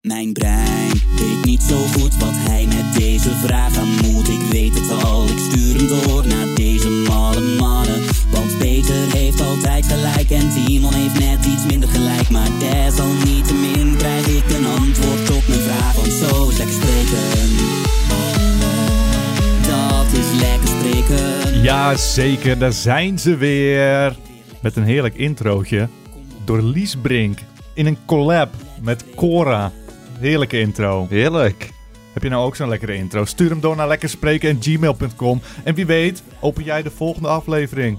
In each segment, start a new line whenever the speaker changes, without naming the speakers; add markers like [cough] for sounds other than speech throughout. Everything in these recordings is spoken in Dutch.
Mijn brein weet niet zo goed wat hij met deze vraag aan moet. Ik weet het al, ik stuur hem door naar deze malle mannen. Want Peter heeft altijd gelijk en Timon heeft net iets minder gelijk. Maar desalniettemin krijg ik een antwoord op mijn vraag. Want zo is lekker spreken. Dat is lekker spreken.
Jazeker, daar zijn ze weer. Met een heerlijk introotje door Lies Brink. In een collab met Cora. Heerlijke intro.
Heerlijk.
Heb je nou ook zo'n lekkere intro? Stuur hem door naar lekkerspreken.gmail.com. En wie weet, open jij de volgende aflevering.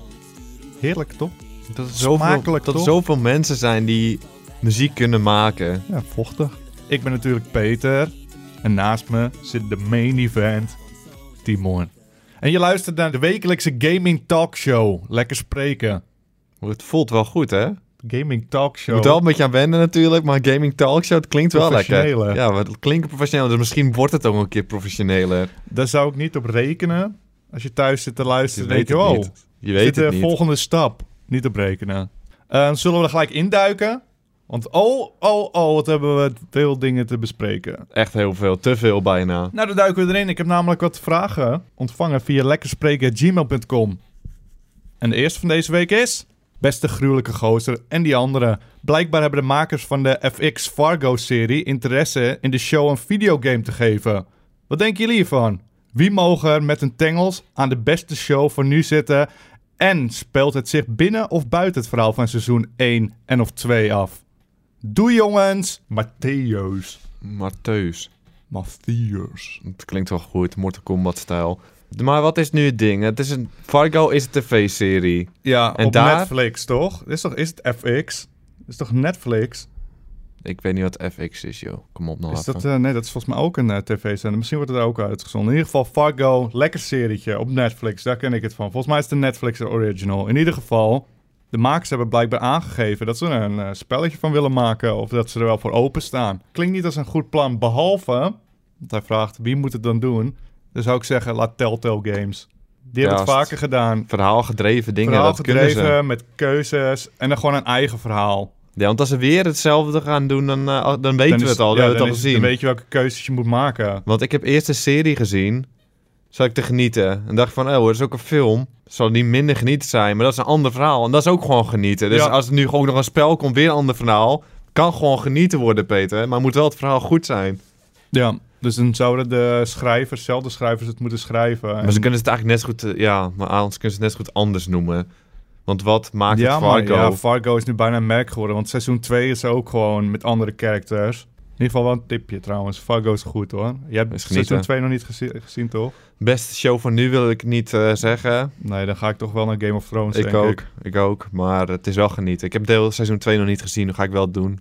Heerlijk, toch?
Dat er zoveel,
Smakelijk,
dat er
toch?
zoveel mensen zijn die muziek kunnen maken.
Ja, vochtig. Ik ben natuurlijk Peter. En naast me zit de main event, Timon. En je luistert naar de wekelijkse gaming talkshow. Lekker spreken.
Het voelt wel goed,
Oh.
hè?
Gaming
Je
talkshow.
moet wel een beetje aan wennen natuurlijk, maar Gaming Talkshow, het klinkt wel
Professioneel,
lekker.
hè?
Ja, maar het klinkt professioneel, dus misschien wordt het ook een keer professioneler.
Daar zou ik niet op rekenen. Als je thuis zit te
Je
luisteren,
weet
denk je,
het
wow,
niet. Je
dit
weet
de
het niet.
volgende stap. Niet op rekenen. Eh, zullen we er gelijk induiken? Want oh, oh, oh, wat hebben we veel dingen te bespreken.
Echt heel veel, te veel bijna.
Nou, dan duiken we erin. Ik heb namelijk wat vragen ontvangen via lekkerspreken.gmail.com. En de eerste van deze week is... Beste gruwelijke gozer en die andere. Blijkbaar hebben de makers van de FX Fargo-serie interesse in de show een videogame te geven. Wat denken jullie hiervan? Wie mogen er met een tengels aan de beste show van nu zitten? En speelt het zich binnen of buiten het verhaal van seizoen 1 en of 2 af? Doei jongens! Matthäus.
Marteus,
Matthäus.
het klinkt wel goed, Mortal Kombat-stijl. Maar wat is nu het ding? Het is een, Fargo is een tv-serie.
Ja,
En
op
daar-
Netflix, toch? Is, toch? is het FX? Is toch Netflix?
Ik weet niet wat FX is, joh. Kom op nou
Is
even.
dat, eh, nee, dat is volgens mij ook een tv-zender. Misschien wordt het daar ook uitgezonden. In ieder geval Fargo, lekker serietje op Netflix. Daar ken ik het van. Volgens mij is het een Netflix original. In ieder geval, de makers hebben blijkbaar aangegeven... dat ze er een eh, spelletje van willen maken... of dat ze er wel voor openstaan. Klinkt niet als een goed plan, behalve... want hij vraagt, wie moet het dan doen? Dan zou ik zeggen, laat Telltale Games. Die hebben het
Juist.
vaker gedaan.
Verhaalgedreven dingen,
Verhaal
dat kunnen ze.
gedreven, met keuzes... en dan gewoon een eigen verhaal.
Ja, want als ze weer hetzelfde gaan doen, dan, eh, dan weten
Dan
we
is-
het al.
ja,
we hebben
dan
het al
is-
gezien.
Dan weet je welke keuzes je moet maken.
Want ik heb eerst de serie gezien. Zat ik te genieten. En dacht van, oh, dat is ook een film. Zal niet minder genieten zijn, maar dat is een ander verhaal. En dat is ook gewoon genieten. Dus
Ja.
als er nu ook nog een spel komt, weer een ander verhaal. Kan gewoon genieten worden, Peter. Maar moet wel het verhaal goed zijn.
Ja. Dus dan zouden de schrijvers, zelf de schrijvers, het moeten schrijven. En-
Maar ze kunnen het eigenlijk net zo goed... eh, Ja, maar anders kunnen ze het net zo goed anders noemen. Want wat maakt
ja,
het
maar
Fargo?
ja, Fargo is nu bijna een merk geworden. Want seizoen 2 is ook gewoon met andere characters. In ieder geval wel een tipje trouwens. Fargo is goed hoor. Je hebt
Is
seizoen
genieten.
2 nog niet gezi- gezien, toch?
Beste show van nu wil ik niet eh, zeggen.
Nee, dan ga ik toch wel naar Game of Thrones.
Ik
denk
ook, ik. ook. Maar het is wel genieten. Ik heb deel seizoen 2 nog niet gezien. Dat ga ik wel doen.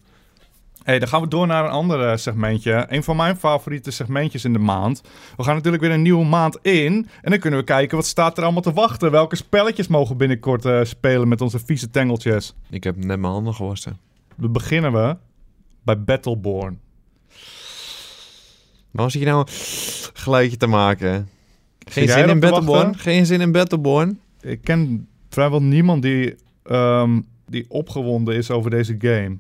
Hey, dan gaan we door naar een ander eh, segmentje. Een van mijn favoriete segmentjes in de maand. We gaan natuurlijk weer een nieuwe maand in. En dan kunnen we kijken wat staat er allemaal te wachten. Welke spelletjes mogen we binnenkort eh, spelen met onze vieze tengeltjes.
Ik heb net mijn handen gewassen.
We beginnen we bij Battleborn.
Waarom zit je nou een geluidje te maken?
Zit
Geen
jij
zin in
erop te
Battleborn?
wachten?
Geen zin in Battleborn?
Ik ken vrijwel niemand die, ehm, die opgewonden is over deze game.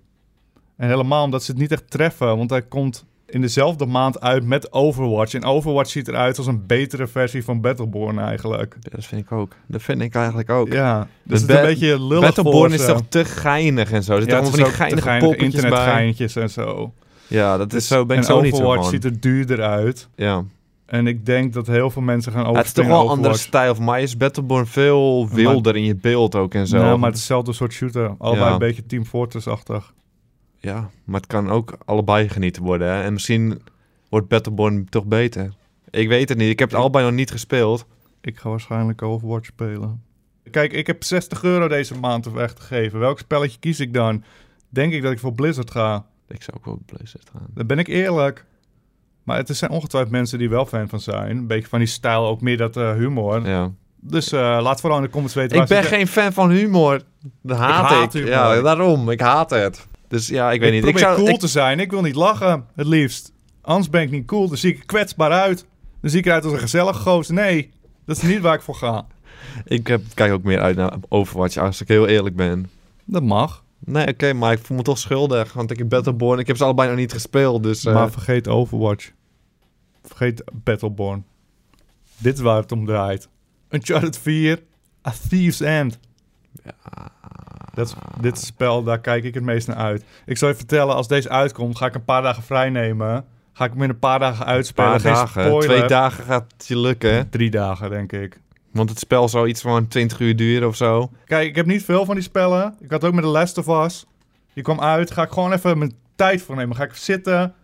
En helemaal omdat ze het niet echt treffen. Want hij komt in dezelfde maand uit met Overwatch. En Overwatch ziet eruit als een betere versie van Battleborn eigenlijk.
Ja, dat vind ik ook. Dat vind ik eigenlijk ook.
Ja, dus het
Ba-
is een beetje lullig
Battleborn
voor
is
ze.
toch te geinig en zo. Er zitten
het is
allemaal van die
ook te
geinige,
geinige
poppetjes bij.
internetgeintjes en zo.
Ja, dat is zo, ben ik
en
zo niet zo
Overwatch
van.
ziet er duurder uit.
Ja.
En ik denk dat heel veel mensen gaan
Het is toch
overspringen
wel een
naar
andere
Overwatch.
stijl. Voor mij is Battleborn veel wilder in je beeld ook en zo.
Ja, Nou, maar het is hetzelfde soort shooter. Allebei
Ja.
een beetje Team Fortress-achtig.
Ja, maar het kan ook allebei genieten worden. Hè? En misschien wordt Battleborn toch beter. Ik weet het niet. Ik heb het allebei nog niet gespeeld.
Ik ga waarschijnlijk Overwatch spelen. Kijk, ik heb 60 euro deze maand weggegeven. Welk spelletje kies ik dan? Denk ik dat ik voor Blizzard ga?
Ik zou ook wel op Blizzard gaan.
Dan ben ik eerlijk. Maar het zijn ongetwijfeld mensen die wel fan van zijn. Een beetje van die stijl, ook meer dat eh, humor.
Ja.
Dus eh, laat vooral in de comments weten
Ik
waar
ben
ze-
geen fan van humor. Dat haat ik.
haat humor.
Ja, daarom. Ik haat het. Dus ja, ik weet niet. Ik
probeer
zou,
cool
ik-
te zijn. Ik wil niet lachen, het liefst. Anders ben ik niet cool. Dan zie ik er kwetsbaar uit. Dan zie ik eruit als een gezellige gozer. Nee, dat is niet waar ik voor ga.
ik heb, kijk ook meer uit naar Overwatch, als ik heel eerlijk ben.
Dat mag.
Nee, oké, maar ik voel me toch schuldig. Want ik heb Battleborn, ik heb ze allebei nog niet gespeeld. Dus eh,
Maar vergeet Overwatch. Vergeet Battleborn. Dit is waar het om draait. Uncharted 4, A Thief's End. Dat is, dit is het spel, daar kijk ik het meest naar uit. Ik zal je vertellen, als deze uitkomt, ga ik een paar dagen vrij nemen. Ga ik hem in een paar dagen
een
uitspelen.
paar
Geen
dagen,
spoiler.
twee dagen gaat het je lukken. hè?
Drie dagen, denk ik.
Want het spel zou iets van 20 uur duren of zo.
Kijk, ik heb niet veel van die spellen. Ik had ook met The Last of Us. Die kwam uit. Ga ik gewoon even mijn tijd voor nemen. Ga ik zitten.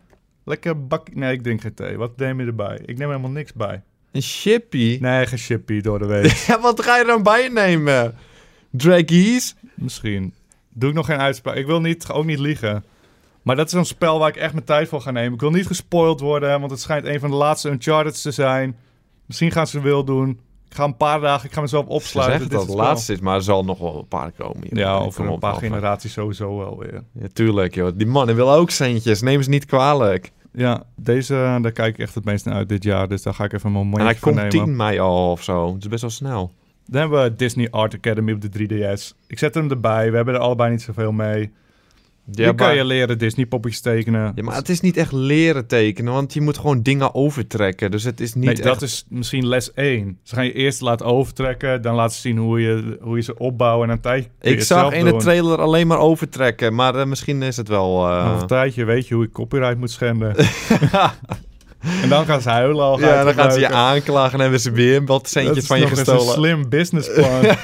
Lekker bak... Nee, ik drink geen thee. Wat neem je erbij? Ik neem helemaal niks bij.
Een shippy?
Nee, geen chippy door de
[laughs]
week.
Ja, wat ga je dan bij je nemen? Draggies?
Misschien. Doe ik nog geen uitspraak. Ik wil niet, ook niet liegen. Maar dat is een spel waar ik echt mijn tijd voor ga nemen. Ik wil niet gespoild worden, want het schijnt een van de laatste Uncharted te zijn. Misschien gaan ze wil doen. Ik ga een paar dagen, ik ga mezelf
Ze
opsluiten. Dit
zeggen dat
is
het
spel.
laatste is, maar er zal nog wel een paar komen. joh.
Ja,
Kom
over een
op,
paar
Alfa.
generaties sowieso wel weer.
Ja, tuurlijk, joh. Die mannen willen ook centjes. Neem ze niet kwalijk.
Ja, deze, eh, daar kijk ik echt het meest naar uit dit jaar. Dus daar ga ik even een
en hij
momentje voor
komt
nemen.
10 mei al of zo. Het is best wel snel.
Dan hebben we Disney Art Academy op de 3DS. Ik zet hem erbij. We hebben er allebei niet zoveel mee.
Ja,
Hier kan
maar-
je leren Disney poppies tekenen.
ja, maar het is niet echt leren tekenen, want je moet gewoon dingen overtrekken. Dus het is niet
nee, dat
echt-
is misschien les 1. Ze gaan je eerst laten overtrekken, dan laten zien hoe je, hoe je ze opbouwen en een tijdje. kun je
Ik
het
zag
zelf
in de
doen.
trailer alleen maar overtrekken, maar eh, misschien is het wel... eh,
Over een tijdje weet je hoe ik copyright moet
[laughs]
schenden. en dan gaan ze huilen al.
ja, dan gaan ze je
gebruiken.
aanklagen en hebben ze weer wat
Dat
centjes
is
van je
nog eens
gestolen.
een slim businessplan.
[laughs]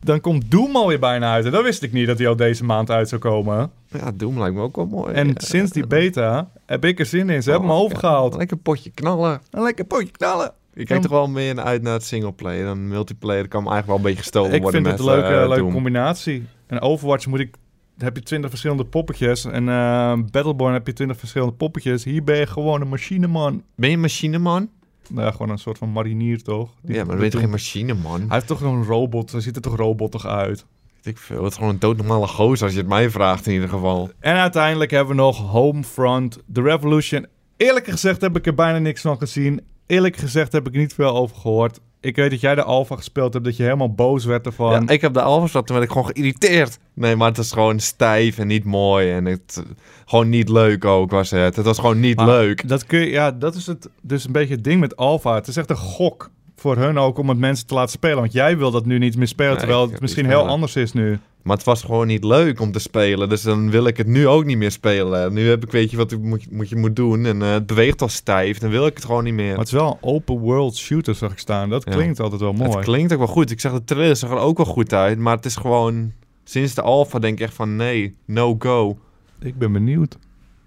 dan komt Doom alweer bijna uit. En dat wist ik niet dat hij al deze maand uit zou komen.
Ja, Doom lijkt me ook wel mooi.
En
Ja.
sinds die beta heb ik er zin in. Ze hebben
Oh,
me
ja.
overgehaald.
Lekker potje knallen.
Een lekker potje knallen.
Ik
Ja.
kijk toch wel meer naar uit naar het singleplayer. Dan multiplayer kan me eigenlijk wel Oh, een beetje gestolen
Ik
worden
vind het een
met,
leuke,
eh,
leuke
Doom.
combinatie. En Overwatch moet ik, heb je twintig verschillende poppetjes. En eh, Battleborn heb je twintig verschillende poppetjes. Hier ben je gewoon een machineman.
Ben je een machineman?
Nou ja, gewoon een soort van marinier, toch? Die-
Ja, maar dan
die-
ben je toch geen machineman?
Hij heeft toch een robot. Hij ziet er toch robotig uit.
Weet Ik veel. Het is gewoon een doodnormale gozer als je het mij vraagt in ieder geval.
En uiteindelijk hebben we nog Homefront, The Revolution. Eerlijk gezegd heb ik er bijna niks van gezien. Eerlijk gezegd heb ik niet veel over gehoord. Ik weet dat jij de alpha gespeeld hebt, dat je helemaal boos werd ervan.
Ja, ik heb de alfa zat, toen werd ik gewoon geïrriteerd. Nee, maar het is gewoon stijf en niet mooi. En het, gewoon niet leuk ook was het. Het was gewoon niet
Maar
leuk.
Dat, kun je, ja, dat is het, dus een beetje het ding met Alpha. Het is echt een gok voor hun ook om het mensen te laten spelen. Want jij wil dat nu niet meer spelen,
Nee, ik
terwijl het
heb
misschien
niet
heel
spelen.
anders is nu.
Maar het was gewoon niet leuk om te spelen. Dus dan wil ik het nu ook niet meer spelen. Nu heb ik, weet je wat ik moet, moet, je moet doen. En eh, het beweegt al stijf. Dan wil ik het gewoon niet meer.
Maar het is wel een open world shooter, zag ik staan. Dat
Ja.
klinkt altijd wel mooi.
Het klinkt ook wel goed. Ik zag de trailer zag er ook wel goed uit. Maar het is gewoon... Sinds de alfa denk ik echt van nee, no go.
Ik ben benieuwd.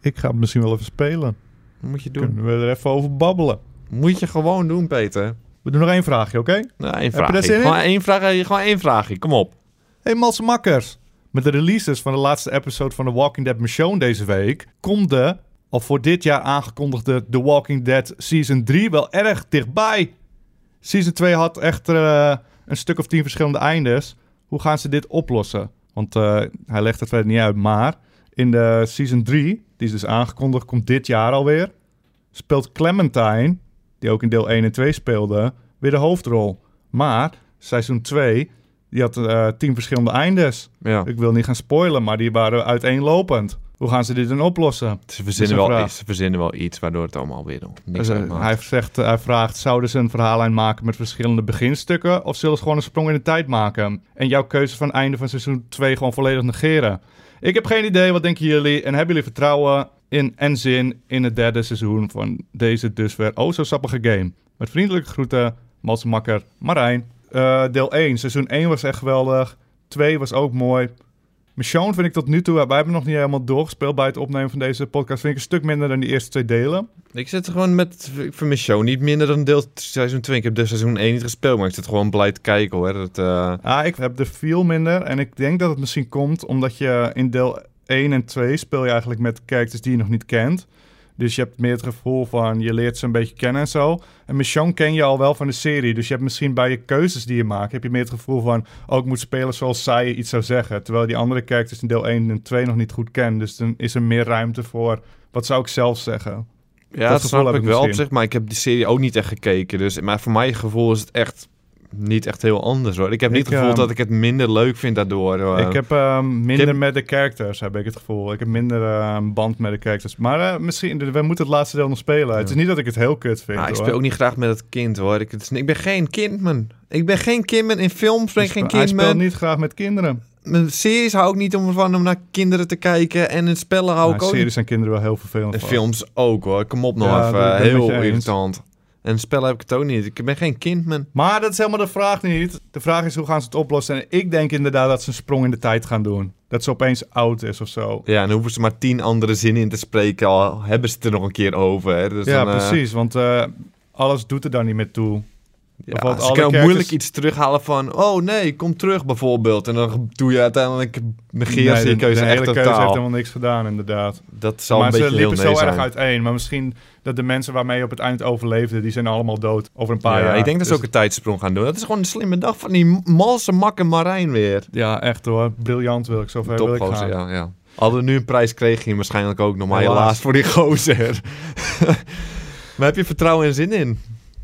Ik ga het misschien wel even spelen.
Wat moet je doen?
Kunnen we er even over babbelen.
Moet je gewoon doen, Peter.
We doen nog één vraagje, oké?
Nou, één
je daar
vraag.
zin in?
Gewoon één vraag. eh, Gewoon één vraagje. Kom op.
Hey Mats Makkers. Met de releases van de laatste episode van The Walking Dead Mission deze week... komt de, al voor dit jaar aangekondigde The Walking Dead Season 3 wel erg dichtbij. Season 2 had echter eh, een stuk of tien verschillende eindes. Hoe gaan ze dit oplossen? Want eh, hij legt het verder niet uit, maar... in de Season 3, die is dus aangekondigd, komt dit jaar alweer... speelt Clementine, die ook in deel 1 en 2 speelde, weer de hoofdrol. Maar seizoen 2, die had eh, tien verschillende eindes.
Ja.
Ik wil niet gaan spoilen, maar die waren uiteenlopend. Hoe gaan ze dit dan oplossen?
Ze
is een
verzinnen, wel,
vraag.
iets- ze verzinnen wel iets waardoor het allemaal weer niks
Dus, eh,
uitmaakt.
hij, zegt, eh, hij vraagt, zouden ze een verhaallijn maken met verschillende beginstukken... of zullen ze gewoon een sprong in de tijd maken? En jouw keuze van einde van seizoen 2 gewoon volledig negeren. Ik heb geen idee, wat denken jullie? En hebben jullie vertrouwen in en zin in het derde seizoen... van deze dus weer oh zo sappige game? Met vriendelijke groeten, Mats Makker, Marijn. Eh, deel 1, seizoen 1 was echt geweldig. 2 was ook mooi. Michonne vind ik tot nu toe, wij hebben nog niet helemaal doorgespeeld bij het opnemen van deze podcast. Vind ik een stuk minder dan die eerste twee delen.
Ik zit er gewoon met, ik vind mijn show niet minder dan deel seizoen 2. Ik heb de seizoen 1 niet gespeeld, maar ik zit gewoon blij te kijken hoor. Dat, eh,
Ah, ik heb er veel minder. En ik denk dat het misschien komt omdat je in deel 1 en 2 speel je eigenlijk met characters die je nog niet kent. Dus je hebt meer het gevoel van je leert ze een beetje kennen en zo. En Michonne ken je al wel van de serie. Dus je hebt misschien bij je keuzes die je maakt, heb je meer het gevoel van oh, ik moet spelen zoals zij iets zou zeggen. Terwijl die andere characters in deel 1 en 2 nog niet goed kennen. Dus dan is er meer ruimte voor wat zou ik zelf zeggen. dat
ja, dat,
gevoel
snap
heb
ik
ik
wel op
misschien.
zich, maar ik heb die serie ook niet echt gekeken. Dus, maar voor mijn gevoel is het echt niet echt heel anders hoor. Ik heb niet
Ik,
het gevoel
ehm,
dat ik het minder leuk vind daardoor. hoor.
Ik heb ehm, minder
Ik heb-
met de characters, heb ik het gevoel. Ik heb minder ehm, band met de characters. Maar eh, misschien, we moeten het laatste deel nog spelen. Het is niet dat ik het heel kut vind.
Ah, ik
hoor.
speel ook niet graag met het kind hoor. Ik, het is- ik ben geen kindman. Ik ben geen kindman. In films ben ik
Hij
geen
spe- Hij speelt
kindman.
niet graag met kinderen.
Mijn series hou ik niet om van om naar kinderen te kijken. En in spellen hou
Nou,
ik ook
series zijn kinderen wel heel vervelend.
En
voor.
films ook hoor. Kom op nog
Ja,
even.
dat ben ik met
Heel
je eens.
irritant. En spellen heb ik het ook niet. Ik ben geen kind, man.
Maar dat is helemaal de vraag niet. De vraag is hoe gaan ze het oplossen. En ik denk inderdaad dat ze een sprong in de tijd gaan doen. Dat ze opeens oud is of zo.
Ja, en dan hoeven ze maar tien andere zinnen in te spreken. Al hebben ze het er nog een keer over. Hè. Dus
ja,
dan, eh,
precies. Want eh, alles doet er dan niet meer toe.
ja,
Bijvoorbeeld
ze
alle
kunnen ook
characters-
moeilijk iets terughalen van... Oh nee, kom terug bijvoorbeeld. En dan doe je uiteindelijk... Negeer ze
Nee,
je
de,
keuze
de
echt
hele keuze heeft
totaal.
helemaal niks gedaan, inderdaad.
Dat zal
maar
een beetje
ze
heel
liepen
nee
zo
zijn.
erg uiteen. Maar misschien dat de mensen waarmee je op het eind overleefde, die zijn allemaal dood over een paar
ja,
jaar.
ik denk dat ze
Dus-
ook een tijdsprong gaan doen. Dat is gewoon een slimme dag van die malse makke Marijn weer.
Ja, echt hoor. Briljant wil ik. Zover wil ik gaan.
Topgozer, ja, ja. Hadden we nu een prijs, kreeg hij waarschijnlijk ook nog. Maar helaas,
Helaas.
voor die gozer. [laughs] maar heb je vertrouwen en zin in?
Ik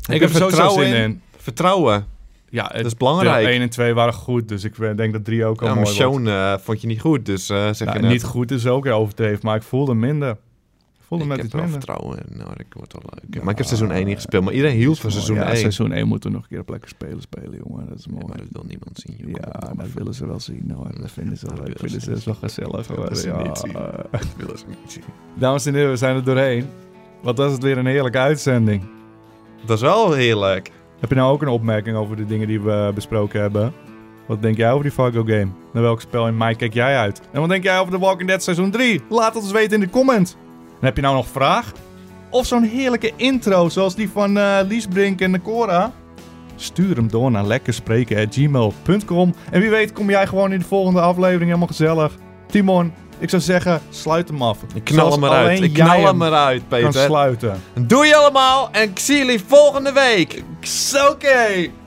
je
heb er sowieso
vertrouwen
zin in.
Vertrouwen.
Ja, het,
Dat is belangrijk.
Deel 1 en 2 waren goed, dus ik we- denk dat 3 ook al
Ja, maar
mooi wordt.
Sean eh, vond je niet goed, dus eh, zeg
Nou,
je net,
niet goed is ook weer overdreven, maar ik voelde minder. Ik voelde
ik
met
heb
iets
wel
minder.
vertrouwen in. Nou, dat wordt wel leuk. maar ik heb seizoen 1 niet gespeeld, maar iedereen hield van seizoen 1.
seizoen 1 moeten we nog een keer op lekker spelen spelen, jongen. Dat is mooi.
maar dat wil niemand zien. joh. Kom op,
ja, dat willen ze wel zien hoor. Dat vinden ze wel
Dat
leuk. Vinden
willen ze
ze dat is wel gezellig hoor.
Dat ze
Ja.
niet zien. dat willen ze niet zien.
Dames en heren, we zijn er doorheen. Wat was het weer een heerlijke uitzending.
Dat is wel heerlijk.
Heb je nou ook een opmerking over de dingen die we besproken hebben? Wat denk jij over die Fargo game? Naar welk spel in mei kijk jij uit? En wat denk jij over The Walking Dead seizoen 3? Laat ons weten in de comment. En heb je nou nog vraag? Of zo'n heerlijke intro zoals die van eh, Lies Brink en Cora? Stuur hem door naar lekkerspreken.gmail.com En wie weet kom jij gewoon in de volgende aflevering helemaal gezellig. Timon, ik zou zeggen, sluit hem af.
Ik knal hem eruit. Ik knal hem eruit,
kan
Peter.
sluiten.
Doei allemaal en ik zie jullie volgende week. Oké.